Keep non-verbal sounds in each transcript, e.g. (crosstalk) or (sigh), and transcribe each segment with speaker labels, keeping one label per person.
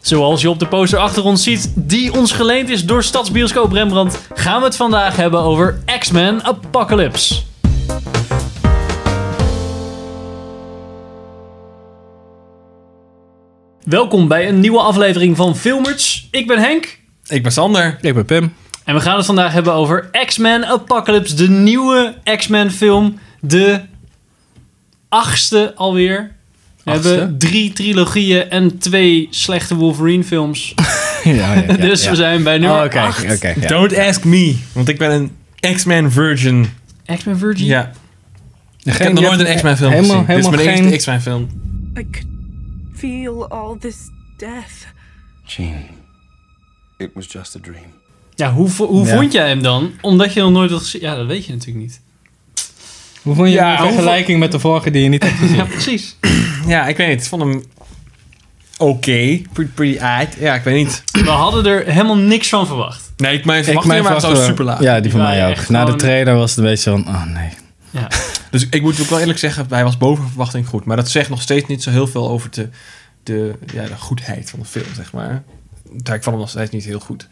Speaker 1: Zoals je op de poster achter ons ziet, die ons geleend is door Stadsbioscoop Rembrandt, gaan we het vandaag hebben over X-Men Apocalypse. Welkom bij een nieuwe aflevering van Filmers. Ik ben Henk.
Speaker 2: Ik ben Sander.
Speaker 3: Ik ben Pim.
Speaker 1: En we gaan het vandaag hebben over X-Men Apocalypse, de nieuwe X-Men film. De achtste alweer. We
Speaker 2: Achtste?
Speaker 1: hebben drie trilogieën en twee slechte Wolverine films.
Speaker 3: Ja, ja, (laughs) ja,
Speaker 1: dus we zijn bij nummer
Speaker 3: Oh, kijk,
Speaker 1: acht.
Speaker 3: oké. ja.
Speaker 2: Don't ask me, want ik ben een X-Men virgin.
Speaker 1: X-Men Virgin?
Speaker 2: Ja, ik
Speaker 3: Geen-
Speaker 2: heb nog nooit
Speaker 3: je hebt
Speaker 2: een X-Men film
Speaker 3: helemaal,
Speaker 2: gezien.
Speaker 3: Helemaal
Speaker 2: Dit is mijn
Speaker 3: geen...
Speaker 2: eerste X-Men film.
Speaker 4: I could feel all this death.
Speaker 5: Jean, it was just a dream.
Speaker 1: Ja, hoe, vo- hoe
Speaker 3: Ja.
Speaker 1: vond jij hem dan? Omdat je nog nooit had gezien... Ja, dat weet je natuurlijk niet. (laughs)
Speaker 3: Hoe vond je
Speaker 2: Ja,
Speaker 3: de
Speaker 2: hoe
Speaker 3: vergelijking met de vorige die je niet hebt gezien?
Speaker 1: Ja, precies.
Speaker 2: Ja, ik weet niet. Ik vond hem oké. Pretty, pretty aard. Ja, ik weet niet.
Speaker 1: We hadden er helemaal niks van verwacht.
Speaker 2: Nee, ik, mijn verwachtingen waren zo
Speaker 3: verwachten-
Speaker 2: super laag.
Speaker 3: Ja, die van
Speaker 1: Die
Speaker 3: mij
Speaker 1: waren
Speaker 3: ook.
Speaker 1: echt
Speaker 3: Na de
Speaker 1: gewoon-
Speaker 3: trailer was het een beetje van, oh nee.
Speaker 1: Ja.
Speaker 2: Dus ik moet ook wel eerlijk zeggen, hij was boven verwachting goed. Maar dat zegt nog steeds niet zo heel veel over de, de, ja, de goedheid van de film, zeg maar. Daar, ik vond hem nog steeds niet heel goed.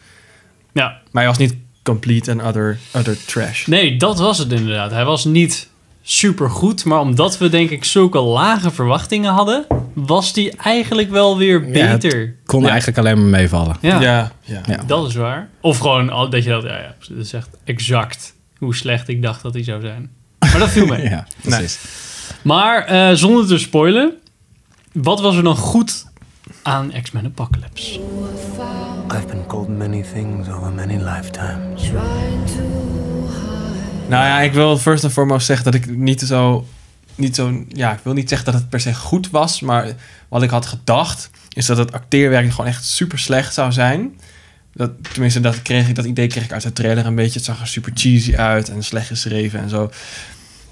Speaker 1: ja.
Speaker 2: Maar hij was niet complete and other, other trash.
Speaker 1: Nee, dat was het inderdaad. Hij was niet supergoed, maar omdat we denk ik zulke lage verwachtingen hadden, was die eigenlijk wel weer
Speaker 3: Ja,
Speaker 1: beter.
Speaker 3: Kon
Speaker 2: Ja.
Speaker 3: eigenlijk alleen maar meevallen.
Speaker 1: Ja,
Speaker 2: ja. ja.
Speaker 3: Ja.
Speaker 1: dat is waar. Of gewoon al, dat je dat, ja, ja, dat is echt exact hoe slecht ik dacht dat hij zou zijn. Maar dat viel mee.
Speaker 3: (laughs) Ja, precies.
Speaker 1: Maar eh, zonder te spoilen, wat was er dan goed aan X-Men Apocalypse?
Speaker 5: I've been called many things over many lifetimes.
Speaker 2: Nou ja, ik wil first and foremost zeggen dat ik niet zo, niet zo... Ja, ik wil niet zeggen dat het per se goed was. Maar wat ik had gedacht, is dat het acteerwerk gewoon echt super slecht zou zijn. Dat, tenminste, dat, kreeg ik, dat idee kreeg ik uit de trailer een beetje. Het zag er super cheesy uit en slecht geschreven en zo.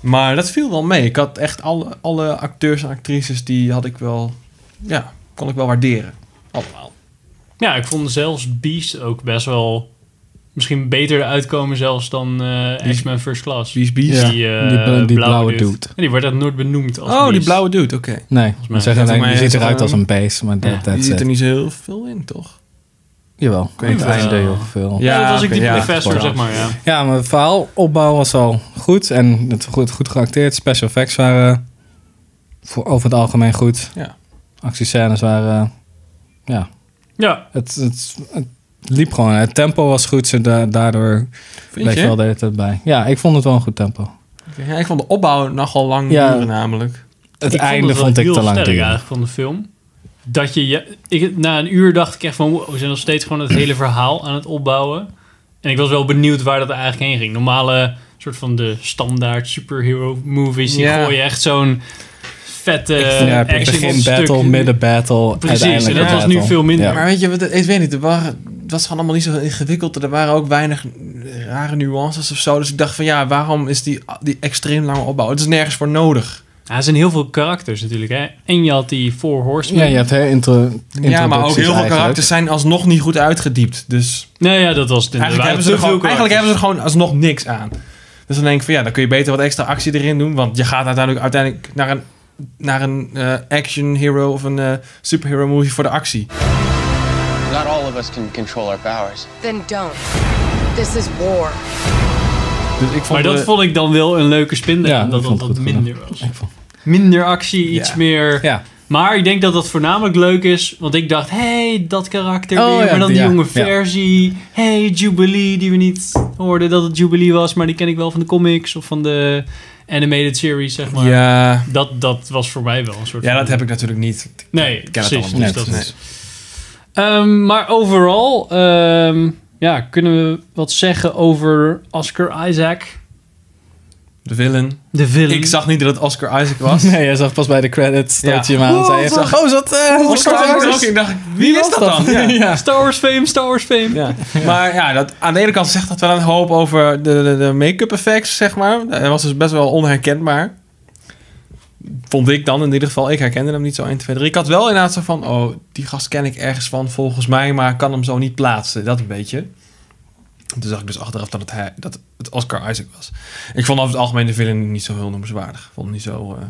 Speaker 2: Maar dat viel wel mee. Ik had echt alle, alle acteurs en actrices, die had ik wel... Ja, kon ik wel waarderen. Allemaal.
Speaker 1: Ja, ik vond zelfs Beast ook best wel misschien beter uitkomen zelfs dan eh, X-Men First Class.
Speaker 2: Beast Beast.
Speaker 1: Die, eh,
Speaker 3: die bla- die blauwe
Speaker 1: dude.
Speaker 3: dude.
Speaker 1: Ja, Die wordt dat nooit benoemd als
Speaker 2: Oh, die
Speaker 1: Beast.
Speaker 2: blauwe dude, oké.
Speaker 3: Nee,
Speaker 1: mij-
Speaker 3: we zeggen
Speaker 2: volgens
Speaker 3: alleen,
Speaker 2: mij
Speaker 3: je
Speaker 2: is
Speaker 3: ziet
Speaker 2: het
Speaker 3: eruit als
Speaker 2: gewoon-
Speaker 3: een beest, maar
Speaker 1: Ja,
Speaker 3: dat
Speaker 2: Die
Speaker 3: is
Speaker 2: zit er
Speaker 3: het.
Speaker 2: niet zo heel veel in, toch?
Speaker 3: Jawel,
Speaker 2: weet
Speaker 3: aan het
Speaker 2: het wel.
Speaker 3: einde heel veel.
Speaker 2: Ja,
Speaker 1: Ja, dat was ik
Speaker 2: oké,
Speaker 1: die
Speaker 2: ja,
Speaker 1: professor,
Speaker 2: spoiler.
Speaker 1: zeg maar, ja.
Speaker 3: Ja, maar het verhaalopbouw was al goed en het goed, goed geacteerd. Special effects waren voor, over het algemeen goed.
Speaker 2: Ja.
Speaker 3: Actiescènes waren, ja,
Speaker 1: Ja,
Speaker 3: het, het, het liep gewoon. Het tempo was goed, ze da- daardoor
Speaker 2: Vind
Speaker 3: bleef
Speaker 2: je?
Speaker 3: wel de hele tijd bij. Ja, ik vond het wel een goed tempo.
Speaker 2: Ja, ik vond de opbouw nogal lang
Speaker 3: Ja.
Speaker 2: duren namelijk.
Speaker 3: Het
Speaker 1: ik
Speaker 3: einde
Speaker 1: het wel
Speaker 3: vond, ik
Speaker 1: heel
Speaker 3: te lang
Speaker 1: sterk
Speaker 3: duren.
Speaker 1: eigenlijk van de film. Dat je, je ik, na een uur dacht ik echt van, wow, we zijn nog steeds gewoon
Speaker 3: (clears throat)
Speaker 1: het hele verhaal aan het opbouwen. En ik was wel benieuwd waar dat eigenlijk heen ging. Normale soort van de standaard superhero movies, die
Speaker 2: Ja.
Speaker 1: gooien echt zo'n vette
Speaker 2: Eh,
Speaker 3: ja,
Speaker 1: action
Speaker 3: begin
Speaker 1: stuk.
Speaker 3: battle, midden battle,
Speaker 1: Precies,
Speaker 3: uiteindelijk
Speaker 1: en dat
Speaker 3: de
Speaker 1: was nu
Speaker 3: battle.
Speaker 1: veel minder.
Speaker 2: Maar weet je, wat, ik weet niet, er waren, het was gewoon allemaal niet zo ingewikkeld. Er waren ook weinig rare nuances of zo. Dus ik dacht van ja, waarom is die, die extreem lange opbouw? Het is nergens voor nodig.
Speaker 1: Ja, er zijn heel veel karakters natuurlijk, hè. En je had die Four Horsemen.
Speaker 3: Ja, je hebt heel intro,
Speaker 2: Ja, maar ook heel veel
Speaker 3: eigenlijk.
Speaker 2: karakters zijn alsnog niet goed uitgediept. Dus
Speaker 1: Nee, Nou ja, dat was het.
Speaker 2: eigenlijk hebben, ze er gewoon, eigenlijk hebben ze er gewoon alsnog niks aan. Dus dan denk ik van ja, dan kun je beter wat extra actie erin doen. Want je gaat uiteindelijk, uiteindelijk naar een, naar een eh, action hero of een eh, superhero movie voor de actie.
Speaker 6: Not all of us can control our powers.
Speaker 7: Then don't. This is war.
Speaker 2: Dus ik vond
Speaker 1: Maar dat
Speaker 2: de-
Speaker 1: vond ik dan wel een leuke spin.
Speaker 3: Ja,
Speaker 1: dat
Speaker 3: ik
Speaker 1: dat,
Speaker 3: vond
Speaker 1: dat
Speaker 3: het goed
Speaker 1: minder was. Minder actie, iets
Speaker 2: Ja.
Speaker 1: meer.
Speaker 3: Ja.
Speaker 1: Maar ik denk dat dat voornamelijk leuk is. Want ik dacht, hé, hey, dat karakter
Speaker 3: Oh
Speaker 1: weer.
Speaker 3: ja,
Speaker 1: maar dan die
Speaker 3: ja,
Speaker 1: jonge
Speaker 3: ja.
Speaker 1: versie. Hé, hey, Jubilee, die we niet hoorden dat het Jubilee was. Maar die ken ik wel van de comics of van de animated series, zeg maar.
Speaker 2: Ja,
Speaker 1: Dat, dat was voor mij wel een soort
Speaker 2: ja,
Speaker 1: van-
Speaker 2: dat heb ik natuurlijk niet.
Speaker 1: Nee,
Speaker 2: ken het
Speaker 1: precies.
Speaker 2: allemaal
Speaker 1: dus
Speaker 2: niet.
Speaker 1: dat
Speaker 2: Nee.
Speaker 1: is- Ehm, maar overal ehm, ja, kunnen we wat zeggen over Oscar Isaac,
Speaker 2: De villain.
Speaker 1: de villain.
Speaker 2: Ik zag niet dat het Oscar Isaac was.
Speaker 3: Nee, jij zag pas bij de credits dat
Speaker 2: Ja.
Speaker 3: je hem aan zei. Je
Speaker 2: Wow,
Speaker 3: zag, oh, zat
Speaker 2: Oscar Isaac was- Ik dacht, wie is dat dan?
Speaker 1: (laughs)
Speaker 2: Ja.
Speaker 1: Star Wars fame, Star Wars fame.
Speaker 2: Ja. Maar ja, dat, aan de ene kant zegt dat wel een hoop over de, de, de make-up effects, zeg maar. Hij was dus best wel onherkenbaar. Vond ik dan in ieder geval. Ik herkende hem niet zo 1, 2, 3. Ik had wel inderdaad zo van, oh, die gast ken ik ergens van volgens mij, maar ik kan hem zo niet plaatsen. Dat een beetje. En Toen zag ik dus achteraf dat het, hij, dat het Oscar Isaac was. Ik vond over het algemeen de villain niet zo heel noemenswaardig. Ik vond hem niet zo... eh, ik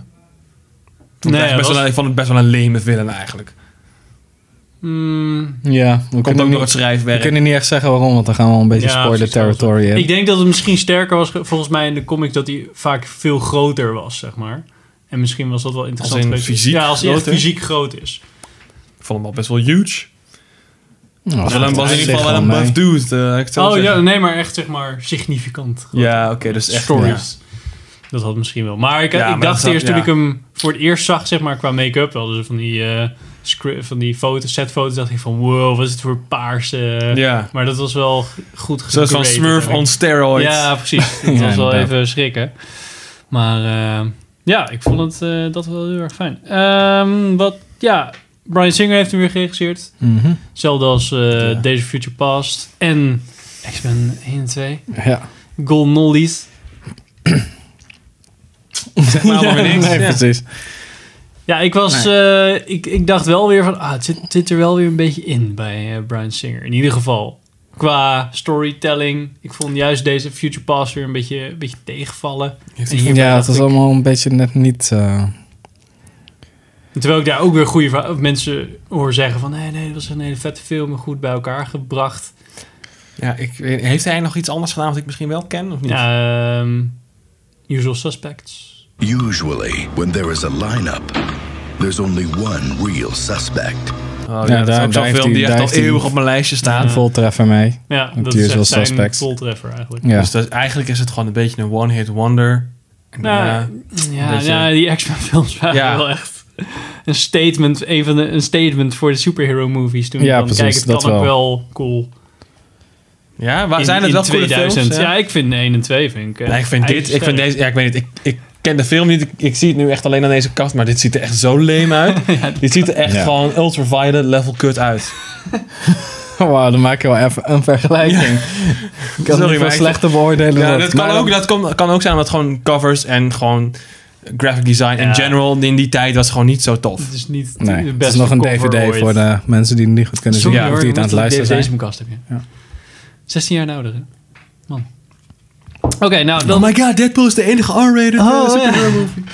Speaker 1: Nee,
Speaker 2: vond, het echt
Speaker 1: ja,
Speaker 2: best
Speaker 1: dat
Speaker 2: wel, ik vond het best wel een leme villain eigenlijk.
Speaker 1: Hmm,
Speaker 3: Ja, we
Speaker 2: Komt
Speaker 3: kunnen,
Speaker 2: ook
Speaker 3: niet,
Speaker 2: door het
Speaker 3: we
Speaker 2: schrijfwerk.
Speaker 3: kunnen niet echt zeggen waarom, want dan gaan we al een beetje
Speaker 1: ja,
Speaker 3: spoiler
Speaker 1: precies, dat was het.
Speaker 3: territory in.
Speaker 1: Ik denk dat het misschien sterker was, ge- volgens mij in de comic, dat hij vaak veel groter was, zeg maar. En misschien was dat wel interessant.
Speaker 2: in
Speaker 1: geweest.
Speaker 2: fysiek
Speaker 1: ja, als hij echt
Speaker 2: groter?
Speaker 1: fysiek groot is.
Speaker 2: Ik vond hem al best wel huge.
Speaker 3: Nou,
Speaker 2: Was wel een- was in
Speaker 3: ligt
Speaker 2: ieder geval wel
Speaker 3: wel
Speaker 2: een
Speaker 3: mee.
Speaker 2: buff dude. eh, laat ik het zo
Speaker 1: oh
Speaker 2: zeggen.
Speaker 1: ja, nee, maar echt zeg maar significant. groot.
Speaker 2: Ja, oké, dus echt.
Speaker 1: stories. Dat had misschien wel. Maar ik,
Speaker 2: Ja,
Speaker 1: ik
Speaker 2: maar dat
Speaker 1: dacht
Speaker 2: zou-
Speaker 1: eerst
Speaker 2: ja.
Speaker 1: toen ik hem voor het eerst zag, zeg maar, qua make-up. wel, Dus van die, eh scri- van die foto's, setfoto's, dacht ik van wow, wat is het voor paarse.
Speaker 2: Ja.
Speaker 1: Maar dat was wel g- goed
Speaker 2: Een soort van
Speaker 1: gegraded,
Speaker 2: Smurf on
Speaker 1: eigenlijk.
Speaker 2: steroids.
Speaker 1: Ja,
Speaker 3: (laughs)
Speaker 1: precies. Dat
Speaker 3: Ja,
Speaker 1: was wel
Speaker 3: inderdaad.
Speaker 1: even schrikken. Maar eh, ja, ik vond het, eh, dat wel heel erg fijn. Ehm, wat, ja, Brian Singer heeft hem weer geregisseerd.
Speaker 3: Mhm.
Speaker 1: Hetzelfde als eh Days of Future Past en X-Men 1 en 2.
Speaker 3: Ja.
Speaker 1: Golden Oldies.
Speaker 2: Zeg maar allemaal
Speaker 3: (laughs)
Speaker 2: weer niks.
Speaker 3: Nee,
Speaker 2: Ja.
Speaker 3: precies.
Speaker 1: Ja, ik was. eh, ik, ik dacht wel weer van. Ah, het zit, het zit er wel weer een beetje in bij eh, Brian Singer. In ieder geval. Qua storytelling. Ik vond juist deze Future Past weer een beetje, een beetje tegenvallen. En hierbij
Speaker 3: Ja,
Speaker 1: dacht
Speaker 3: het was
Speaker 1: ik-
Speaker 3: allemaal een beetje net niet... eh,
Speaker 1: Terwijl ik daar ook weer goede verha- of mensen hoor zeggen van. Nee, nee, dat was een hele vette film. en Goed bij elkaar gebracht.
Speaker 2: Ja, ik, weet- heeft hij nog iets anders gedaan wat ik misschien wel ken of niet?
Speaker 1: Ja, ehm, Usual Suspects.
Speaker 8: Usually, when there is a lineup, there's only one real suspect.
Speaker 2: Oh, ja,
Speaker 3: daar-
Speaker 2: dat is ook
Speaker 3: daar
Speaker 2: zo'n
Speaker 3: heeft
Speaker 2: film
Speaker 3: hij-
Speaker 2: die echt
Speaker 3: daar
Speaker 2: al
Speaker 3: heeft hij-
Speaker 2: eeuwig op mijn lijstje staat.
Speaker 3: Een voltreffer mee.
Speaker 1: Ja,
Speaker 3: Ook
Speaker 1: dat is
Speaker 3: Usual
Speaker 1: echt zijn
Speaker 3: Suspects.
Speaker 1: voltreffer eigenlijk.
Speaker 3: Ja.
Speaker 2: Dus dat, is- eigenlijk is het gewoon een beetje een one-hit wonder. En
Speaker 1: Nou,
Speaker 2: daarna-
Speaker 1: Ja,
Speaker 2: Beetje-
Speaker 1: ja die X-Men films waren
Speaker 2: Ja.
Speaker 1: wel echt een statement, een, van de, een statement voor de superhero movies. Toen
Speaker 3: Ja,
Speaker 1: van,
Speaker 3: precies,
Speaker 1: kijk, het
Speaker 3: dat
Speaker 1: kan ook
Speaker 3: wel.
Speaker 1: wel cool.
Speaker 2: ja, waar,
Speaker 1: In-
Speaker 2: zijn het
Speaker 1: in
Speaker 2: wel goede films?
Speaker 1: Ja. ik vind 1 en 2 vind ik. eh,
Speaker 2: Ja, ik vind dit, ik
Speaker 1: ijzersterk.
Speaker 2: vind deze, ja, ik weet niet, ik, ik ken de film niet, ik, ik zie het nu echt alleen aan deze kast, maar dit ziet er echt zo leem (laughs) uit. dit ziet er echt
Speaker 3: Ja.
Speaker 2: gewoon ultraviolet level kut uit.
Speaker 3: (laughs) Wauw, dan maak je wel even een vergelijking. (laughs) Ik
Speaker 2: Sorry,
Speaker 3: kan het niet
Speaker 2: maar
Speaker 3: veel
Speaker 2: ik-
Speaker 3: slechter beoordelen
Speaker 2: Ja,
Speaker 3: dan
Speaker 2: dat kan,
Speaker 3: Maar
Speaker 2: ook,
Speaker 3: dan-
Speaker 2: dat kan, kan ook zijn omdat gewoon covers en gewoon graphic design in
Speaker 1: Ja.
Speaker 2: general in die tijd was gewoon niet zo tof.
Speaker 3: Oh
Speaker 1: Het is niet
Speaker 3: Nee,
Speaker 1: de
Speaker 3: het is
Speaker 1: beste
Speaker 3: nog een
Speaker 1: cover
Speaker 3: DVD
Speaker 1: ooit.
Speaker 3: voor de mensen die het niet goed kunnen zien.
Speaker 1: Sorry
Speaker 3: of
Speaker 1: hoor,
Speaker 3: die het aan
Speaker 1: mensen
Speaker 3: het luisteren
Speaker 1: DVD's
Speaker 3: zijn.
Speaker 1: in mijn kast heb je.
Speaker 3: Ja.
Speaker 1: 16 jaar en ouder, hè? Man. Oké, nou, dan...
Speaker 2: Oh my god, Deadpool is de enige R-rated
Speaker 1: Oh,
Speaker 2: eh,
Speaker 1: ja.
Speaker 2: superhero movie.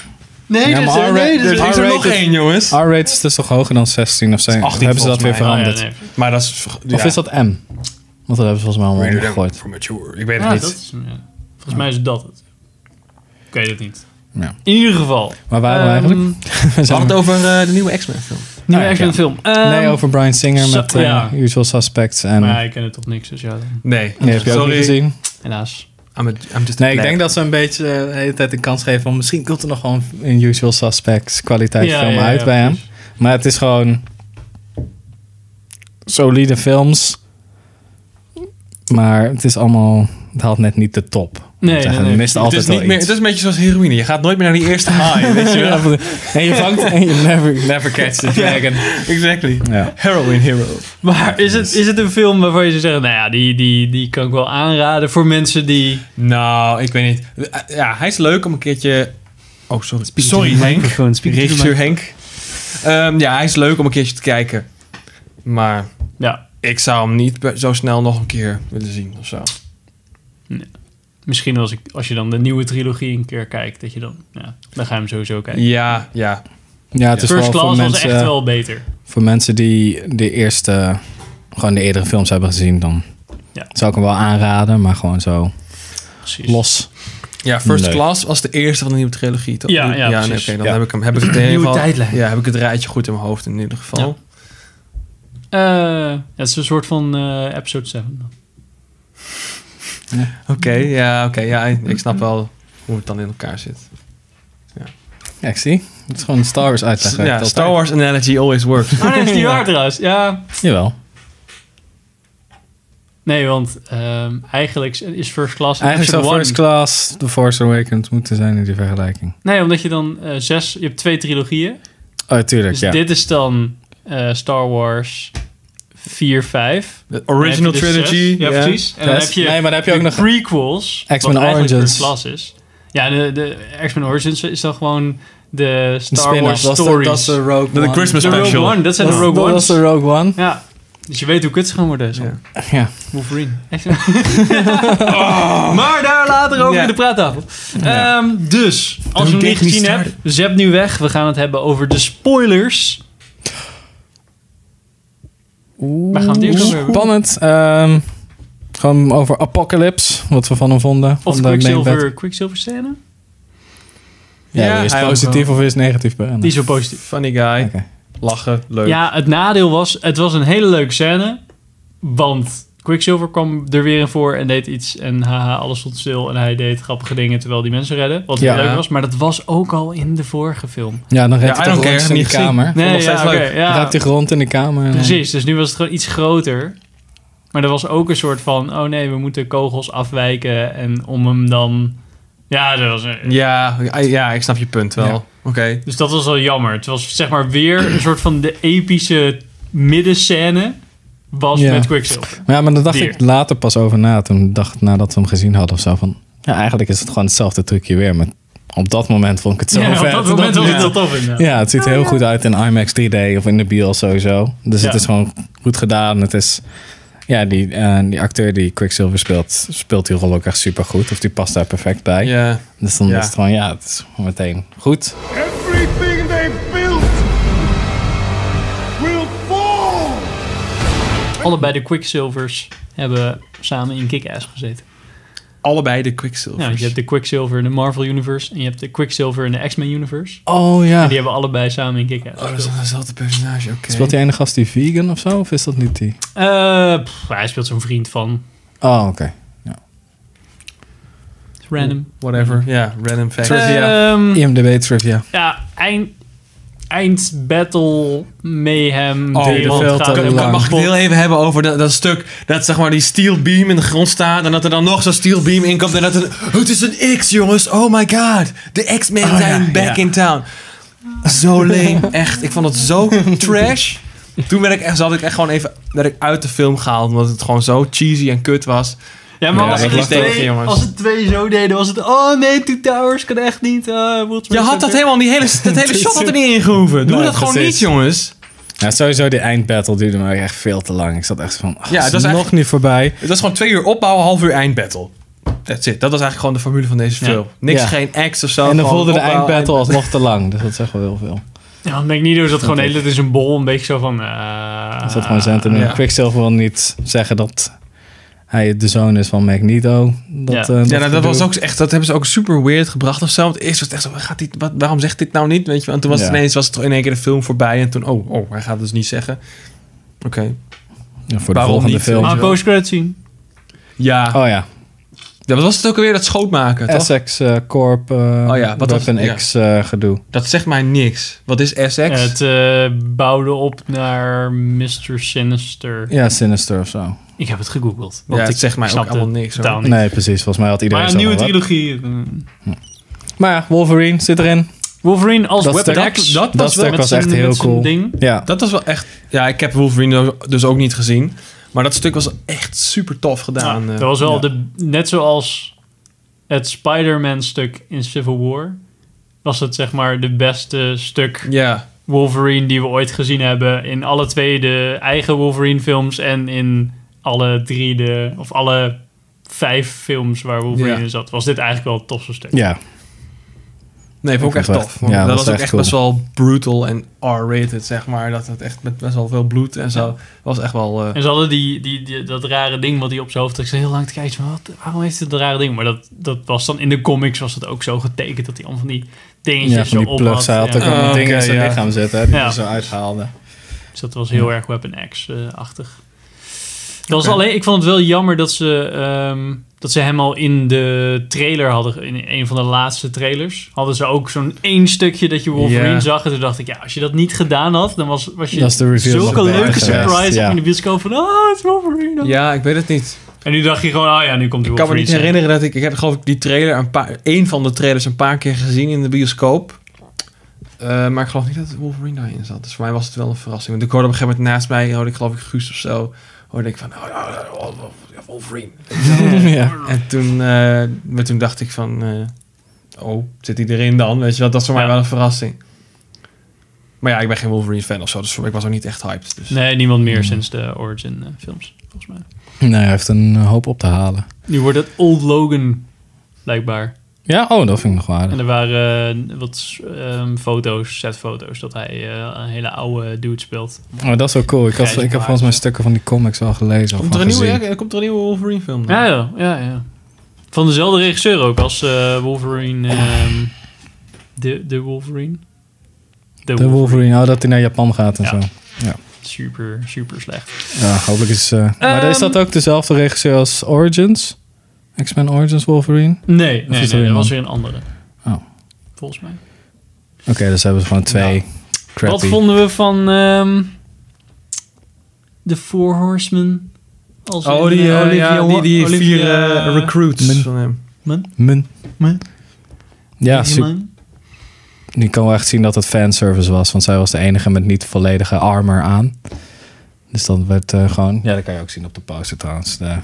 Speaker 1: Nee,
Speaker 3: Ja,
Speaker 1: dat
Speaker 3: maar
Speaker 1: is-
Speaker 3: R-rated-
Speaker 1: nee, dat is-
Speaker 2: Er is er nog
Speaker 3: R-rated.
Speaker 2: één, jongens.
Speaker 3: R-rated is dus toch hoger dan 16 of zijn?
Speaker 2: 18
Speaker 3: hebben ze dat weer
Speaker 2: volgens
Speaker 1: Oh,
Speaker 2: mij.
Speaker 1: ja,
Speaker 3: veranderd?
Speaker 1: nee.
Speaker 2: Maar dat is... ja.
Speaker 3: Of is dat M? Want dat hebben ze volgens mij allemaal
Speaker 2: Rated M
Speaker 3: omgegooid.
Speaker 2: for mature. Ik weet het
Speaker 1: Ja,
Speaker 2: niet.
Speaker 1: Ah, dat is- ja. Volgens mij is dat het. Ik weet het niet.
Speaker 3: Ja.
Speaker 1: In ieder geval.
Speaker 3: Waar waren we
Speaker 1: Ehm,
Speaker 3: eigenlijk? We
Speaker 2: We
Speaker 3: zijn-
Speaker 2: hadden het over eh, de nieuwe X-Men film.
Speaker 1: Nieuwe
Speaker 3: Ah, ja,
Speaker 1: X-Men
Speaker 3: ja.
Speaker 1: film. Ehm,
Speaker 3: Nee, over Brian Singer
Speaker 1: zo-
Speaker 3: met eh,
Speaker 1: ja.
Speaker 3: Usual Suspects. En,
Speaker 1: Maar hij kent het toch niks, dus ja, dan-
Speaker 2: Nee.
Speaker 3: die heb je ook niet gezien.
Speaker 1: helaas.
Speaker 2: I'm a- I'm just a
Speaker 3: Nee, ik
Speaker 2: black.
Speaker 3: denk dat ze een beetje eh, de hele tijd de kans geven van misschien komt er nog gewoon een Usual Suspects kwaliteitsfilm
Speaker 1: Ja, ja, ja,
Speaker 3: uit bij hem.
Speaker 1: precies.
Speaker 3: Maar het is gewoon solide films. Maar het is allemaal, het haalt net niet de top. Ik moet
Speaker 1: nee,
Speaker 3: zeggen,
Speaker 1: nee.
Speaker 3: Het mist
Speaker 2: het
Speaker 3: altijd
Speaker 2: is, niet
Speaker 3: wel
Speaker 2: meer,
Speaker 3: iets.
Speaker 2: het is een beetje zoals heroïne. Je gaat nooit meer naar die
Speaker 3: (laughs)
Speaker 2: eerste high, weet je wel?
Speaker 3: en je vangt (laughs) en je never, never catch the dragon.
Speaker 2: Exactly.
Speaker 3: Ja.
Speaker 2: Heroin hero.
Speaker 1: Maar is het, is het een film waarvan je zou zeggen, nou ja, die, die, die kan ik wel aanraden voor mensen die...
Speaker 2: Nou, ik weet niet. Ja, hij is leuk om een keertje... Oh, sorry. sorry, Henk. Regisseur Henk. Ehm, ja, hij is leuk om een keertje te kijken. Maar
Speaker 1: Ja,
Speaker 2: ik zou hem niet be- zo snel nog een keer willen zien of zo.
Speaker 1: misschien als, ik, als je dan de nieuwe trilogie een keer kijkt, dat je dan... Ja, dan ga je hem sowieso kijken.
Speaker 2: Ja, ja.
Speaker 3: Ja, het is
Speaker 1: First
Speaker 3: vooral
Speaker 1: Class
Speaker 3: voor
Speaker 1: was echt
Speaker 3: mensen, eh,
Speaker 1: wel beter.
Speaker 3: voor mensen die de eerste, gewoon de eerdere films hebben gezien, dan
Speaker 1: Ja.
Speaker 3: zou ik hem wel aanraden, maar gewoon zo
Speaker 1: Precies.
Speaker 3: los.
Speaker 2: Ja, First
Speaker 3: Nee.
Speaker 2: Class was de eerste van de nieuwe trilogie, toch?
Speaker 1: Ja, ja,
Speaker 2: nee,
Speaker 1: precies.
Speaker 2: oké, dan
Speaker 3: Ja.
Speaker 2: heb ik hem. Heb ik
Speaker 1: (clears throat)
Speaker 2: het in ieder
Speaker 1: Nieuwe
Speaker 2: geval-
Speaker 1: tijdlijn.
Speaker 2: Ja, heb ik het rijtje goed in mijn hoofd in ieder geval.
Speaker 1: Ja. Eh, ja, het is een soort van eh, episode 7.
Speaker 3: (laughs)
Speaker 1: dan.
Speaker 2: Oké, ja, oké, ja, ik snap wel hoe het dan in elkaar zit.
Speaker 3: Ja, ik zie. Het is gewoon een Star Wars uitleg. werkt
Speaker 2: ja,
Speaker 3: altijd.
Speaker 2: Star Wars analogy always works.
Speaker 1: Oh nee, dat is niet waar trouwens. Ja.
Speaker 3: Jawel.
Speaker 1: Nee, want ehm, eigenlijk is First Class... een
Speaker 3: Eigenlijk zou
Speaker 1: episode
Speaker 3: First
Speaker 1: one.
Speaker 3: Class The Force Awakens moeten zijn in die vergelijking.
Speaker 1: Nee, omdat je dan eh, zes... Je hebt twee trilogieën.
Speaker 3: Oh, tuurlijk,
Speaker 1: Dus
Speaker 3: ja.
Speaker 1: dit is dan eh, Star Wars 4, 5.
Speaker 2: (laughs) De original
Speaker 1: Dan heb je de
Speaker 2: trilogy.
Speaker 1: zes. Ja, precies. En dan
Speaker 3: Dat is-
Speaker 1: heb je,
Speaker 3: nee, maar dan heb je
Speaker 1: de
Speaker 3: ook nog-
Speaker 1: prequels.
Speaker 3: X-Men
Speaker 1: wat eigenlijk
Speaker 3: Origins.
Speaker 1: First Class is. Ja, de, de X-Men Origins is dan gewoon de
Speaker 3: De
Speaker 1: Star
Speaker 3: spin-off,
Speaker 1: Wars
Speaker 3: dat is de-
Speaker 1: stories.
Speaker 3: Dat is de Rogue
Speaker 2: De
Speaker 3: One.
Speaker 2: Christmas
Speaker 1: De Rogue
Speaker 2: special.
Speaker 1: One, dat zijn
Speaker 3: Dat is-
Speaker 1: de Rogue
Speaker 3: Dat
Speaker 1: Ones.
Speaker 3: is de Rogue One.
Speaker 1: Ja, dus je weet hoe kut ze gaan worden. Zo.
Speaker 2: Ja.
Speaker 3: Ja. (laughs)
Speaker 1: Wolverine. Echt. Maar daar later over
Speaker 2: Ja.
Speaker 1: in de praattafel.
Speaker 3: Oh. Ja.
Speaker 1: Ehm, dus, als je hem
Speaker 2: get
Speaker 1: niet
Speaker 2: me
Speaker 1: gezien hebt, zet nu weg. We gaan het hebben over de spoilers Waar gaan we het eerst over hebben?
Speaker 3: Spannend. Ehm, gewoon over Apocalypse, wat we van hem vonden.
Speaker 1: Of
Speaker 3: van de main bad.
Speaker 1: Quicksilver, Quicksilver scène?
Speaker 3: Ja,
Speaker 2: Ja,
Speaker 3: is
Speaker 2: hij ook
Speaker 3: het positief
Speaker 2: wel.
Speaker 3: of is het negatief bij hem?
Speaker 1: Die is wel positief.
Speaker 2: Funny guy.
Speaker 3: Oké.
Speaker 2: Lachen. Leuk.
Speaker 1: Ja, het nadeel was, het was een hele leuke scène. Want Quicksilver kwam er weer in voor en deed iets. En haha, alles stond stil. En hij deed grappige dingen terwijl die mensen redden. Wat
Speaker 3: Ja.
Speaker 1: leuk was. Maar dat was ook al in de vorige film.
Speaker 3: Ja, dan
Speaker 2: Ja,
Speaker 3: redt
Speaker 2: I
Speaker 3: hij
Speaker 2: don't
Speaker 3: toch
Speaker 2: care,
Speaker 3: rond in de
Speaker 2: niet gezien.
Speaker 3: kamer.
Speaker 2: Nee, nog steeds
Speaker 1: oké,
Speaker 2: leuk.
Speaker 1: ja.
Speaker 3: Raapt hij grond in de kamer. en dan-
Speaker 1: Precies, dus nu was het gewoon iets groter. Maar er was ook een soort van, oh nee, we moeten kogels afwijken. En om hem dan... Ja, dat was een-
Speaker 2: Ja, ja, ik snap je punt wel.
Speaker 3: Ja.
Speaker 2: Oké.
Speaker 1: Dus dat was wel jammer. Het was zeg maar weer een soort van de epische middenscène was
Speaker 3: Ja.
Speaker 1: met Quicksilver.
Speaker 3: Maar ja, maar daar dacht
Speaker 1: Dier.
Speaker 3: ik later pas over na. Toen dacht ik nadat we hem gezien hadden of zo van... Ja, eigenlijk is het gewoon hetzelfde trucje weer. Maar op dat moment vond ik het zo
Speaker 1: Ja,
Speaker 3: vet.
Speaker 1: op dat moment was het
Speaker 3: ja.
Speaker 1: wel tof inderdaad.
Speaker 3: Ja, het ziet er heel goed uit in IMAX 3D of in de bios sowieso. Dus het
Speaker 1: Ja.
Speaker 3: is gewoon goed gedaan. Het is... Ja, die, eh, die acteur die Quicksilver speelt, speelt die rol ook echt super goed. Of die past daar perfect bij.
Speaker 2: Ja.
Speaker 3: Dus dan
Speaker 2: Ja.
Speaker 3: is het gewoon, ja, het is gewoon meteen goed.
Speaker 9: Everything they built will fall.
Speaker 1: Allebei de Quicksilvers hebben samen in Kick-Ass gezeten.
Speaker 2: Allebei de Quicksilvers.
Speaker 1: Nou, je hebt de Quicksilver in de Marvel Universe en je hebt de Quicksilver in de X-Men Universe.
Speaker 3: Oh ja.
Speaker 1: Die hebben allebei samen in Kick-Ass
Speaker 2: Oh, dat is
Speaker 1: gespeeld.
Speaker 2: allemaal hetzelfde personage, oké.
Speaker 3: Speelt die ene gast die vegan of zo? Of is dat niet die?
Speaker 1: Eh, pff, hij speelt zo'n vriend van.
Speaker 3: Oh, oké.
Speaker 1: Random.
Speaker 2: Whatever. Ja, random fact.
Speaker 1: Ehm,
Speaker 3: IMDB trivia.
Speaker 1: ja, eind, eindbattle mayhem.
Speaker 2: Oh,
Speaker 1: de
Speaker 3: veel
Speaker 1: wereld
Speaker 3: te
Speaker 1: gaat
Speaker 3: lang.
Speaker 1: helemaal
Speaker 2: Mag ik het heel
Speaker 1: kapot.
Speaker 2: even hebben over dat, dat stuk dat zeg maar die steel beam in de grond staat en dat er dan nog zo'n steel beam in komt en dat het, Oh, het is een X jongens, oh my god, de X-Men
Speaker 3: ja,
Speaker 2: zijn back
Speaker 3: ja.
Speaker 2: in town. Zo lame, echt. Ik vond het (laughs) zo trash. Toen werd ik echt, zat ik echt gewoon even werd ik uit de film gehaald omdat het gewoon zo cheesy en kut was.
Speaker 1: Ja, maar
Speaker 3: Ja,
Speaker 1: als,
Speaker 3: dat
Speaker 1: het dus
Speaker 3: lag
Speaker 1: twee,
Speaker 2: tegen, jongens.
Speaker 1: als het twee zo deden, was het... Oh nee, Two Towers kan echt niet. eh, Will Smith
Speaker 2: Je had
Speaker 1: is
Speaker 2: dat
Speaker 1: er-
Speaker 2: helemaal, die hele, dat (laughs) hele shot had er niet in gehoeven. Doe
Speaker 3: Nee,
Speaker 2: dat gewoon
Speaker 3: precies.
Speaker 2: niet jongens.
Speaker 3: Ja, sowieso die eindbattle duurde me echt veel te lang. Ik zat echt van, ach,
Speaker 2: Ja,
Speaker 3: ja,
Speaker 2: dat
Speaker 3: dat
Speaker 2: is
Speaker 3: is nog
Speaker 2: eigenlijk-
Speaker 3: niet voorbij.
Speaker 2: Het was gewoon twee uur opbouwen, half uur eindbattle. That's it. Dat was eigenlijk gewoon de formule van deze
Speaker 1: Ja.
Speaker 2: film. Niks,
Speaker 3: Ja.
Speaker 2: geen acts of zo.
Speaker 3: en dan
Speaker 2: gewoon
Speaker 3: voelde de
Speaker 2: opbouwen,
Speaker 3: eindbattle
Speaker 2: eindbattle.
Speaker 3: alsnog te lang. Dus dat zegt wel heel veel.
Speaker 1: Ja, want McNeil is dat gewoon...
Speaker 3: is-
Speaker 1: Nee, dat is een bol. Een beetje zo van... eh,
Speaker 3: Is dat gewoon Zenten.
Speaker 2: ja.
Speaker 3: Quicksilver wil niet zeggen dat hij de zoon is van Magneto. Dat,
Speaker 1: Ja. Ja,
Speaker 3: eh,
Speaker 2: (laughs) Ja, nou, dat,
Speaker 3: gedoe.
Speaker 2: was ook echt, dat hebben ze ook super weird gebracht of zo. Want eerst was het echt zo, waar gaat dit, wat, waarom zegt dit nou niet? Weet je, wel? en toen was het
Speaker 3: Ja.
Speaker 2: ineens was het in één keer de film voorbij. En toen, oh, oh hij gaat het dus niet zeggen. Oké.
Speaker 3: Ja, voor de
Speaker 2: waarom
Speaker 3: volgende
Speaker 2: niet?
Speaker 3: film.
Speaker 1: Maar
Speaker 2: Weet
Speaker 1: een
Speaker 2: je
Speaker 1: Ah,
Speaker 2: wel.
Speaker 1: post-credit zien.
Speaker 2: Ja.
Speaker 3: Oh ja,
Speaker 2: ja, wat was het ook alweer? Dat schootmaken, toch?
Speaker 3: Essex eh, Corp, eh
Speaker 2: Oh ja, wat
Speaker 3: Weapon
Speaker 2: was- ja.
Speaker 3: X eh, gedoe.
Speaker 2: Dat zegt mij niks. Wat is SX?
Speaker 1: Het eh, bouwde op naar Mr. Sinister.
Speaker 3: Ja, Sinister of zo.
Speaker 1: Ik heb het gegoogeld.
Speaker 2: ja,
Speaker 1: want
Speaker 2: het
Speaker 1: ik
Speaker 2: zegt mij ook
Speaker 1: snapte
Speaker 2: allemaal niks.
Speaker 1: totaal
Speaker 2: Hoor.
Speaker 1: niet.
Speaker 3: Nee, precies. Volgens mij had iedereen
Speaker 1: Maar een
Speaker 3: zo
Speaker 1: nieuwe
Speaker 3: wel wat.
Speaker 1: trilogie. eh,
Speaker 3: Maar ja, Wolverine zit erin.
Speaker 1: Wolverine als
Speaker 3: Dat
Speaker 1: Weapon
Speaker 3: stuk-
Speaker 1: X.
Speaker 2: dat- dat
Speaker 1: met
Speaker 3: stuk was
Speaker 1: zijn-
Speaker 3: echt heel
Speaker 1: met zijn
Speaker 3: cool.
Speaker 1: Ding.
Speaker 3: Ja,
Speaker 2: Dat was wel echt... Ja, ik heb Wolverine dus ook niet gezien. Maar dat stuk was echt super tof gedaan.
Speaker 1: Ja,
Speaker 2: eh.
Speaker 1: dat was wel
Speaker 3: ja.
Speaker 1: de, net zoals het Spider-Man stuk in Civil War. Was het zeg maar de beste stuk
Speaker 2: Ja,
Speaker 1: Wolverine die we ooit gezien hebben. In alle twee de eigen Wolverine films. En in alle drie de... Of alle vijf films waar Wolverine
Speaker 2: Ja.
Speaker 1: in zat. Was dit eigenlijk wel het tofste stuk.
Speaker 3: ja.
Speaker 2: nee, vond ik
Speaker 3: Ik
Speaker 2: echt
Speaker 3: vond het
Speaker 2: tof.
Speaker 3: echt-
Speaker 2: want
Speaker 3: ja,
Speaker 2: dat
Speaker 3: dat
Speaker 2: was
Speaker 3: was
Speaker 2: ook echt
Speaker 3: echt cool.
Speaker 2: best wel brutal en R-rated, zeg maar. Dat het echt met best wel veel bloed en zo. was echt wel... eh,
Speaker 1: En ze hadden die, die, die- dat rare ding wat hij op zijn hoofd had. Ik zat heel lang te kijken. Van, wat, waarom heeft hij dat rare ding? Maar dat, dat was dan in de comics was dat ook zo getekend. Dat hij allemaal van die dingetjes
Speaker 3: Ja, van
Speaker 1: zo
Speaker 3: die
Speaker 1: op
Speaker 3: plugs. Hij
Speaker 1: had.
Speaker 3: had ook
Speaker 1: Ja.
Speaker 2: Oh,
Speaker 3: allemaal dingen in
Speaker 2: oké,
Speaker 3: zijn
Speaker 2: ja.
Speaker 3: lichaam zitten. hè, Die
Speaker 1: Ja.
Speaker 3: hij zo
Speaker 1: (laughs)
Speaker 3: uithaalde.
Speaker 1: Dus dat was heel erg Weapon X-achtig. Dat was alleen, ik vond het wel jammer dat ze, ehm, dat ze hem al in de trailer hadden. In een van de laatste trailers hadden ze ook zo'n één stukje dat je Wolverine
Speaker 2: Ja.
Speaker 1: zag. En toen dacht ik, ja, als je dat niet gedaan had, dan was, was je
Speaker 3: Dat is de reveal
Speaker 1: zulke
Speaker 3: nog beter
Speaker 1: leuke
Speaker 3: geweest,
Speaker 1: surprise
Speaker 3: ja.
Speaker 1: in de bioscoop van, ah, het is Wolverine.
Speaker 2: ja, ik weet het niet.
Speaker 1: En nu dacht je gewoon, ah ja, nu komt de
Speaker 2: Ik kan me
Speaker 1: Wolverine.
Speaker 2: niet herinneren dat ik... Ik heb geloof ik die trailer, een paar, één van de trailers een paar keer gezien in de bioscoop. Eh, maar ik geloof niet dat Wolverine daarin zat. Dus voor mij was het wel een verrassing. Want ik hoorde op een gegeven moment naast mij, hoorde ik geloof ik Guus of zo, hoorde ik van, oh, oh, oh, oh, oh, Wolverine.
Speaker 3: ja.
Speaker 2: En toen, eh, maar toen dacht ik van, eh, oh, zit hij erin dan? Weet je wel, dat is voor mij
Speaker 1: Ja.
Speaker 2: wel een verrassing. Maar ja, ik ben geen Wolverine fan of zo, dus voor- ik was ook niet echt hyped. Dus.
Speaker 1: Nee, niemand meer sinds de Origin eh, films, volgens mij.
Speaker 3: Nee, hij heeft een hoop op te halen.
Speaker 1: Nu wordt het Old Logan, blijkbaar.
Speaker 3: Ja, oh, dat vind ik nog wel aardig.
Speaker 1: En er waren eh, wat ehm, foto's, setfoto's, dat hij eh, een hele oude dude speelt.
Speaker 3: Maar dat is wel cool. Ik, had,
Speaker 1: Grijs
Speaker 3: ik heb
Speaker 1: paard.
Speaker 3: volgens mij stukken van die comics al gelezen. Of
Speaker 2: Komt er,
Speaker 3: van
Speaker 2: een nieuwe,
Speaker 3: gezien.
Speaker 2: ja, komt er een nieuwe Wolverine film? dan?
Speaker 1: Ja, ja, ja. ja. Van dezelfde regisseur ook als eh, Wolverine. ehm, de, de Wolverine. De,
Speaker 3: De Wolverine, oh, dat hij naar Japan gaat en
Speaker 1: Ja.
Speaker 3: zo.
Speaker 1: Super, super slecht.
Speaker 3: Ja, hopelijk is... eh maar
Speaker 1: Ehm.
Speaker 3: is dat ook dezelfde regisseur als Origins? X-Men Origins Wolverine?
Speaker 1: Nee,
Speaker 3: is
Speaker 1: nee,
Speaker 3: er
Speaker 1: nee
Speaker 3: weer
Speaker 1: dat
Speaker 3: een
Speaker 1: was weer een andere.
Speaker 3: Oh.
Speaker 1: Volgens mij.
Speaker 3: Oké, dus hebben ze gewoon twee crappy...
Speaker 1: Wat vonden we van ehm The Four Horsemen? Als
Speaker 2: Oh,
Speaker 1: in,
Speaker 2: die,
Speaker 1: eh,
Speaker 2: eh,
Speaker 1: Olivia
Speaker 2: ja, die, die
Speaker 1: Wa-
Speaker 2: vier
Speaker 1: Olivia-
Speaker 2: eh, recruits
Speaker 3: Min-
Speaker 2: van hem.
Speaker 3: Mun.
Speaker 1: Mun.
Speaker 3: Ja,
Speaker 1: Olivia
Speaker 3: super.
Speaker 1: Munn?
Speaker 3: Nu kan wel echt zien dat het fanservice was, want zij was de enige met niet volledige armor aan. Dus dan werd eh, gewoon... Ja, dat kan je ook zien op de poster trouwens. De,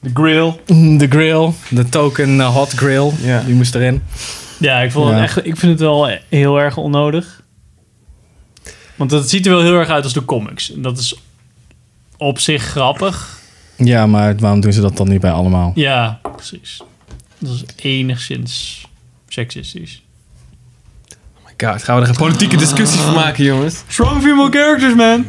Speaker 2: De grill.
Speaker 3: Mm, de grill, de token eh, hot grill,
Speaker 2: Ja.
Speaker 3: die moest erin.
Speaker 1: Ja, ik, vond het
Speaker 3: Ja.
Speaker 1: echt, ik vind het wel heel erg onnodig. Want het ziet er wel heel erg uit als de comics. En dat is op zich grappig.
Speaker 3: Ja, maar waarom doen ze dat dan niet bij allemaal?
Speaker 1: Ja, precies. Dat is enigszins seksistisch.
Speaker 2: God, gaan we er een politieke discussie van maken, jongens?
Speaker 1: Strong female characters, man!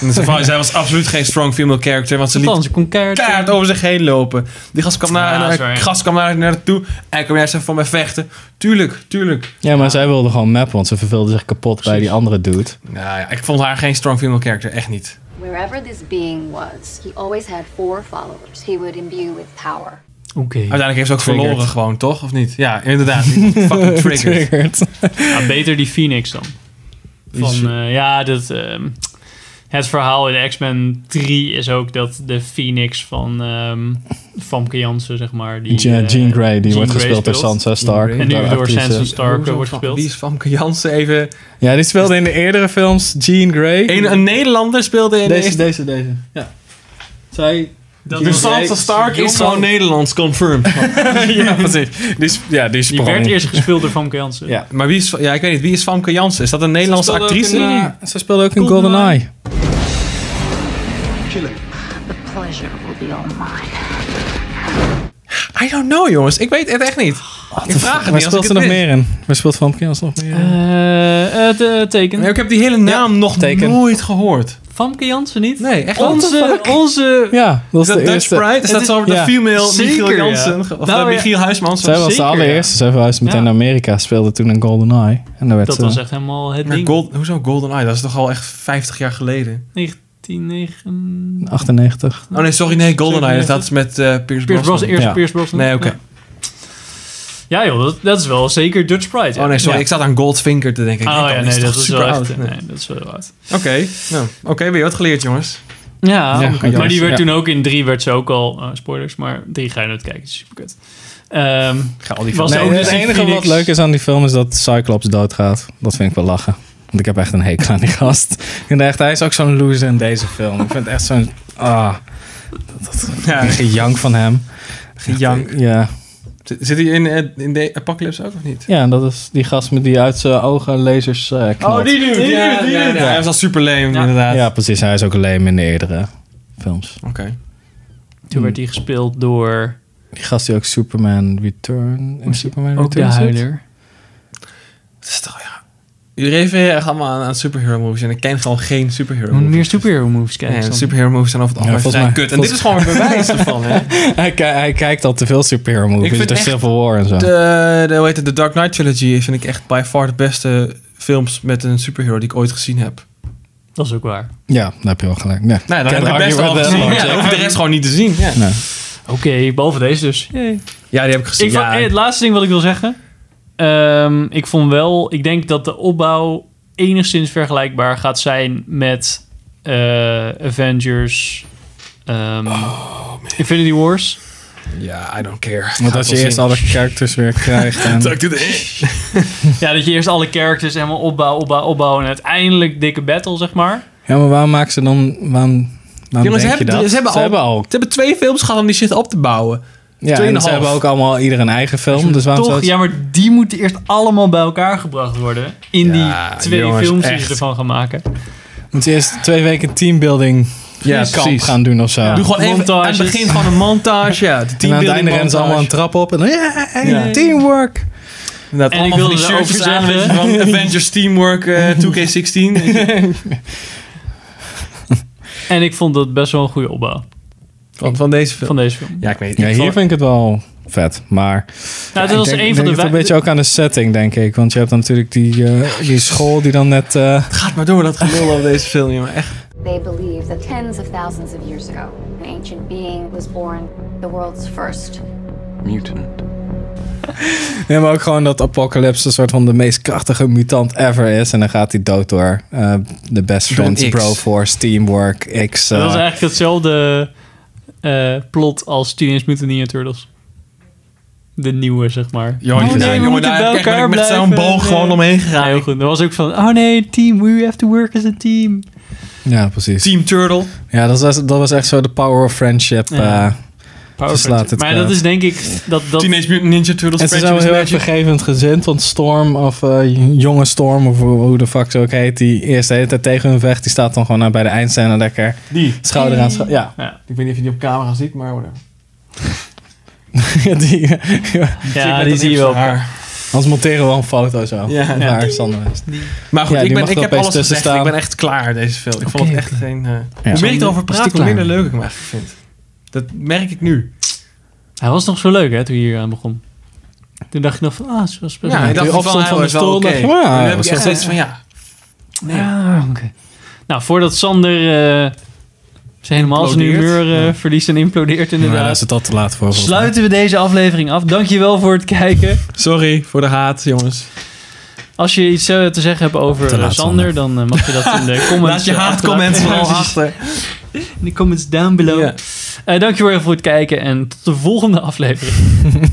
Speaker 2: En ze van, zij was absoluut geen strong female character, want ze liet
Speaker 1: Althans, ik kon keihard...
Speaker 2: kaart over zich heen lopen. Die gast kwam naar,
Speaker 1: Ah,
Speaker 2: naar-
Speaker 1: sorry.
Speaker 2: gast kwam naar, naar haar toe en kwam juist even voor mij vechten. Tuurlijk, tuurlijk.
Speaker 3: Ja, maar zij wilde gewoon mappen, want ze verveelde zich kapot bij die andere dude.
Speaker 2: Nou ja, ik vond haar geen strong female character, echt niet.
Speaker 10: Wherever this being was, he always had four followers he would imbue with power.
Speaker 1: Oké. Ah,
Speaker 2: Uiteindelijk heeft ze ook
Speaker 3: Triggered.
Speaker 2: verloren gewoon, toch? Of niet?
Speaker 1: (laughs)
Speaker 2: Ja, inderdaad. die Fucking triggered.
Speaker 3: Triggered.
Speaker 1: Ja, beter die Phoenix dan. Van,
Speaker 2: is-
Speaker 1: eh, ja, dat, ehm, het verhaal in X-Men 3 is ook dat de Phoenix van ehm Famke Jansen, zeg maar... Die,
Speaker 3: Ja,
Speaker 1: eh,
Speaker 3: Jean Grey, die
Speaker 1: Jean
Speaker 3: wordt
Speaker 1: Grey
Speaker 3: gespeeld door
Speaker 1: speelt.
Speaker 3: Sansa Stark.
Speaker 2: Grey.
Speaker 1: En nu
Speaker 3: Daar
Speaker 1: door
Speaker 3: actrice.
Speaker 1: Sansa Stark eh,
Speaker 2: Hoezo
Speaker 1: wordt
Speaker 2: van-
Speaker 1: gespeeld.
Speaker 2: Wie is Famke Jansen even?
Speaker 3: Ja, die speelde in de eerdere films Jean Grey.
Speaker 2: Een, een Nederlander speelde in deze.
Speaker 3: deze, deze. Ja. Zij...
Speaker 1: Dat
Speaker 2: Dus Sansa Stark is gewoon Nederlands, confirmed.
Speaker 3: ja, precies. Die is, ja, die
Speaker 1: Die
Speaker 3: sprong.
Speaker 1: werd eerst gespeeld door Famke Jansen.
Speaker 3: Ja.
Speaker 2: Maar wie is, (laughs) ja, ik weet niet, wie is Famke Jansen? Is dat een Nederlandse
Speaker 3: speelde ook
Speaker 2: actrice?
Speaker 3: in, eh, ze speelde ook in
Speaker 1: GoldenEye.
Speaker 3: GoldenEye.
Speaker 10: The pleasure will be all mine.
Speaker 2: I don't know, jongens. Ik weet het echt niet. ik vraag het
Speaker 3: Waar
Speaker 2: niet als ik
Speaker 3: speelt ze
Speaker 2: het
Speaker 3: nog
Speaker 2: wist.
Speaker 3: meer in? Waar speelt Van Kils nog meer in?
Speaker 1: Eh, het eh, teken.
Speaker 2: Nee, ik heb die hele naam nog
Speaker 3: teken.
Speaker 2: nooit gehoord.
Speaker 1: Famke Jansen niet?
Speaker 2: Nee, echt
Speaker 1: Onze, onze...
Speaker 3: ja, dat
Speaker 2: Is
Speaker 3: was
Speaker 2: dat
Speaker 3: de
Speaker 2: Dutch
Speaker 3: eerste.
Speaker 2: Pride? Is
Speaker 1: Het
Speaker 2: dat
Speaker 1: is-
Speaker 2: zo de
Speaker 3: ja.
Speaker 2: female
Speaker 1: Zeker,
Speaker 2: Michiel
Speaker 1: ja.
Speaker 2: Jansen? Of
Speaker 1: Nou, ja.
Speaker 2: eh, Michiel Huismans?
Speaker 3: Zij was de
Speaker 1: Zeker, ja.
Speaker 3: allereerste. Zij verhuisde meteen
Speaker 1: Ja.
Speaker 3: naar Amerika, speelde toen in GoldenEye. En daar werd
Speaker 1: Dat
Speaker 3: ze...
Speaker 1: was echt helemaal het
Speaker 2: Maar
Speaker 1: ding.
Speaker 2: Gold, hoezo Golden Eye? Dat is toch al echt 50 jaar geleden?
Speaker 1: 1999...
Speaker 3: 98.
Speaker 2: Oh nee, sorry, nee, Golden Eye. Dat is met eh Pierce,
Speaker 1: Pierce Brosnan, eerst
Speaker 3: Ja.
Speaker 1: Pierce Brosnan.
Speaker 2: Nee, oké.
Speaker 1: Ja joh, dat, dat is wel zeker Dutch Pride. ja.
Speaker 2: Oh nee, sorry,
Speaker 1: Ja.
Speaker 2: ik zat aan Goldfinger te denken. Ik
Speaker 1: Oh
Speaker 2: denk,
Speaker 1: ja,
Speaker 2: die
Speaker 1: nee, dat
Speaker 2: toch
Speaker 1: is wel
Speaker 2: superoud?
Speaker 1: echt...
Speaker 2: Nee.
Speaker 1: Nee, dat is wel heel oud.
Speaker 2: Oké, nou, oké, weer wat geleerd, jongens.
Speaker 1: Ja,
Speaker 3: Ja,
Speaker 1: oké.
Speaker 3: oké.
Speaker 1: maar die werd
Speaker 3: Ja.
Speaker 1: toen ook in 3 werd ze ook al... eh, spoilers, maar 3 ga je nooit kijken. Super kut. Ehm
Speaker 2: Ik ga al die
Speaker 1: Was
Speaker 2: van-
Speaker 1: ook
Speaker 3: Nee,
Speaker 1: dus
Speaker 3: het
Speaker 1: die
Speaker 3: enige
Speaker 1: Phoenix-
Speaker 3: wat leuk is aan die film is dat Cyclops doodgaat. Dat vind ik wel lachen. Want ik heb echt een hekel aan die gast. En echt, hij is ook zo'n loser in deze film. Ik vind het echt zo'n... Ah,
Speaker 2: Ja,
Speaker 3: een gejank van hem.
Speaker 2: gejank.
Speaker 3: Ja,
Speaker 2: Z- Zit hij in, eh, in de apocalypse ook of niet?
Speaker 3: ja en dat is die gast met die uit zijn ogen lasers
Speaker 2: Oh,
Speaker 3: eh knalt.
Speaker 2: dude.
Speaker 1: Die
Speaker 2: ja,
Speaker 1: dude, die
Speaker 2: ja,
Speaker 1: dude.
Speaker 2: ja, Hij was al super lame, inderdaad.
Speaker 3: Ja, precies. Hij is ook alleen in de eerdere films.
Speaker 2: Oké. Hmm.
Speaker 1: toen werd die gespeeld door...
Speaker 3: Die gast die ook Superman Return in Superman
Speaker 1: Ook de
Speaker 3: Return zit.
Speaker 1: huiler.
Speaker 2: Dat is toch, ja. Jullie refereren echt allemaal aan, aan superhero movies. En ik ken gewoon geen superhero
Speaker 1: Moet
Speaker 2: movies.
Speaker 1: meer superhero movies kijken.
Speaker 2: Nee,
Speaker 1: Sander.
Speaker 2: superhero movies zijn over het
Speaker 3: Ja,
Speaker 2: algemeen
Speaker 3: volgens
Speaker 2: vrij
Speaker 3: mij-
Speaker 2: kut. En dit is gewoon een bewijs ervan,
Speaker 3: (laughs)
Speaker 2: hè.
Speaker 3: Hij, ki- hij kijkt al te veel superhero
Speaker 2: Ik
Speaker 3: movies.
Speaker 2: vind
Speaker 3: De
Speaker 2: echt
Speaker 3: Civil War en zo.
Speaker 2: De, de, hoe heet het, de Dark Knight Trilogy vind ik echt by far de beste films met een superhero die ik ooit gezien heb.
Speaker 1: Dat is ook waar.
Speaker 3: Ja, daar heb je wel gelijk. Nee.
Speaker 2: Nou, dan
Speaker 3: Can't
Speaker 2: heb ik het beste
Speaker 3: argue
Speaker 2: al
Speaker 3: with that
Speaker 2: gezien.
Speaker 3: logic.
Speaker 2: Ja, dan hoef ik de rest gewoon niet te zien. Ja,
Speaker 3: Nee.
Speaker 1: Oké, behalve deze dus.
Speaker 2: ja die heb ik eh, gezien.
Speaker 1: Ik vond,
Speaker 2: ja.
Speaker 1: hey, het laatste ding wat ik wil zeggen. Ehm, ik vond wel, ik denk dat de opbouw enigszins vergelijkbaar gaat zijn met eh, Avengers ehm,
Speaker 2: Oh,
Speaker 1: Infinity Wars.
Speaker 2: ja, I don't care.
Speaker 3: Want als je eerst alle characters weer
Speaker 2: (laughs)
Speaker 3: krijgt. En...
Speaker 2: Ik doe de-
Speaker 1: Ja, dat je eerst alle characters helemaal opbouw, opbouw, opbouw en uiteindelijk dikke battle, zeg maar.
Speaker 3: Ja, maar waarom maken ze dan... Waarom, waarom
Speaker 2: Jongens, ze
Speaker 3: denk je
Speaker 2: hebben, dus-
Speaker 3: dat?
Speaker 2: ze, hebben al,
Speaker 3: al...
Speaker 2: ze hebben twee films gehad om die shit op te bouwen.
Speaker 3: Ja, en ze
Speaker 2: tweeënhalf.
Speaker 3: hebben ook allemaal ieder een eigen film. Dus waarom
Speaker 1: Toch,
Speaker 3: zou
Speaker 1: ja, maar die moeten eerst allemaal bij elkaar gebracht worden in
Speaker 2: Ja,
Speaker 1: die twee
Speaker 2: jongens,
Speaker 1: films die
Speaker 2: echt.
Speaker 1: ze ervan gaan maken.
Speaker 3: Moet je eerst twee weken teambuilding
Speaker 2: Ja,
Speaker 3: kamp
Speaker 2: precies.
Speaker 3: gaan doen of zo.
Speaker 2: Doe gewoon even aan
Speaker 1: Montages.
Speaker 2: het begin gewoon een montage. Ja, de
Speaker 3: en aan het einde
Speaker 2: teambuilding
Speaker 3: rennen ze allemaal een
Speaker 2: montage.
Speaker 3: trap op. En dan, ja, hey,
Speaker 2: Ja.
Speaker 3: teamwork.
Speaker 2: Inderdaad,
Speaker 1: En ik
Speaker 2: allemaal van die
Speaker 1: wilde erover
Speaker 2: shirtjes aan. weet je,
Speaker 1: zeggen-
Speaker 2: Van Avengers Teamwork (laughs) eh, 2K16.
Speaker 1: En ik vond dat best wel een goede opbouw
Speaker 2: Van, van deze film.
Speaker 1: van deze film.
Speaker 2: ja, ik weet
Speaker 3: Ja, hier
Speaker 2: vond-
Speaker 3: vind ik het wel vet. Maar
Speaker 1: Nou,
Speaker 3: Ja,
Speaker 1: dat was
Speaker 3: ik denk,
Speaker 1: een van de...
Speaker 3: denk het een
Speaker 1: wei-
Speaker 3: beetje ook aan de setting, denk ik. Want je hebt dan natuurlijk die, eh, die school die dan net... eh,
Speaker 2: Gaat maar door dat gelul over deze film, jongen. Echt.
Speaker 10: They believe that tens of thousands of years ago, an ancient being was born, the world's first.
Speaker 5: Mutant.
Speaker 3: Nee, maar ook gewoon dat Apocalypse een soort van de meest krachtige mutant ever is. En dan gaat hij dood door eh, de best
Speaker 2: Door
Speaker 3: friends,
Speaker 2: X.
Speaker 3: Broforce, Teamwork, X. eh,
Speaker 1: Dat was eigenlijk hetzelfde eh, plot als Teenage Mutant Ninja Turtles. De nieuwe, zeg maar.
Speaker 2: Jongen,
Speaker 1: oh nee, we moeten bij
Speaker 2: daar ben
Speaker 1: elkaar
Speaker 2: ik met
Speaker 1: blijven.
Speaker 2: zo'n boog
Speaker 1: Nee.
Speaker 2: gewoon omheen
Speaker 1: Ja,
Speaker 2: gegaan.
Speaker 1: heel goed. Er was ook van, oh nee, team, we have to work as a team.
Speaker 3: Ja, precies.
Speaker 2: Team Turtle.
Speaker 3: Ja, dat was, dat was echt zo de power of friendship.
Speaker 1: Ja.
Speaker 3: eh. Verslaat het
Speaker 1: maar
Speaker 3: kwaad.
Speaker 1: dat is denk ik... Dat, dat,
Speaker 2: Teenage Mutant Ninja Turtles.
Speaker 3: en ze zijn
Speaker 2: Franchise
Speaker 3: wel heel erg
Speaker 2: Magic.
Speaker 3: vergevend gezind, want Storm of eh, jonge Storm of hoe hoe de fuck ze ook heet, die eerst de hele tijd tegen hun vecht, die staat dan gewoon eh, bij de eindscène lekker
Speaker 2: Die.
Speaker 3: schouder aan schouder. Ja, (laughs)
Speaker 1: ja,
Speaker 2: Ik weet niet of je die op camera ziet, maar whatever.
Speaker 3: Ja, die, (laughs) ja.
Speaker 1: ja, die zie je wel.
Speaker 3: Anders monteren we wel een foto zo.
Speaker 2: Ja.
Speaker 3: Ja,
Speaker 2: Ja.
Speaker 3: Waar Sander is.
Speaker 2: Maar goed,
Speaker 3: Ja, die
Speaker 2: ik, ben,
Speaker 3: mag
Speaker 2: ik
Speaker 3: er
Speaker 2: heb
Speaker 3: opeens
Speaker 2: alles
Speaker 3: tussen
Speaker 2: gezegd.
Speaker 3: staan.
Speaker 2: Ik ben echt klaar deze film. Ik vond
Speaker 3: Oké.
Speaker 2: het echt geen... eh,
Speaker 3: Ja.
Speaker 2: Hoe meer ik erover
Speaker 3: Is die
Speaker 2: praat, hoe
Speaker 3: klaar?
Speaker 2: minder leuk ik hem eigenlijk vind. Dat merk ik nu.
Speaker 1: Hij was nog zo leuk, hè, toen je hier aan begon. Toen dacht je nog van, ah, ze was best
Speaker 2: Ja,
Speaker 1: leuk.
Speaker 2: ik dacht
Speaker 3: die
Speaker 2: van,
Speaker 3: afstand
Speaker 2: van de stoel. Oké.
Speaker 3: dacht ik, wow,
Speaker 2: Nu heb ik
Speaker 3: was
Speaker 2: echt
Speaker 3: wel-
Speaker 2: zoiets van, ja.
Speaker 1: Ah, oké. Nou, voordat Sander eh, zijn helemaal zijn
Speaker 2: Implodeert.
Speaker 1: humeur eh, verliest en implodeert
Speaker 3: Maar daar
Speaker 1: inderdaad.
Speaker 3: is het al te laat voor. volgens mij.
Speaker 1: Sluiten we deze aflevering af. Dankjewel voor het kijken.
Speaker 2: Sorry voor de haat, jongens.
Speaker 1: Als je iets eh, te zeggen hebt over
Speaker 3: Te
Speaker 1: eh,
Speaker 3: laat,
Speaker 1: Sander, dan eh, mag je dat in de comments
Speaker 2: Laat je
Speaker 1: eh, (laughs)
Speaker 2: haatcomments
Speaker 1: achterlaten.
Speaker 2: vooral
Speaker 1: Precies.
Speaker 2: achter.
Speaker 1: In de comments down below.
Speaker 2: Ja.
Speaker 1: Eh, dankjewel voor het kijken en tot de volgende aflevering.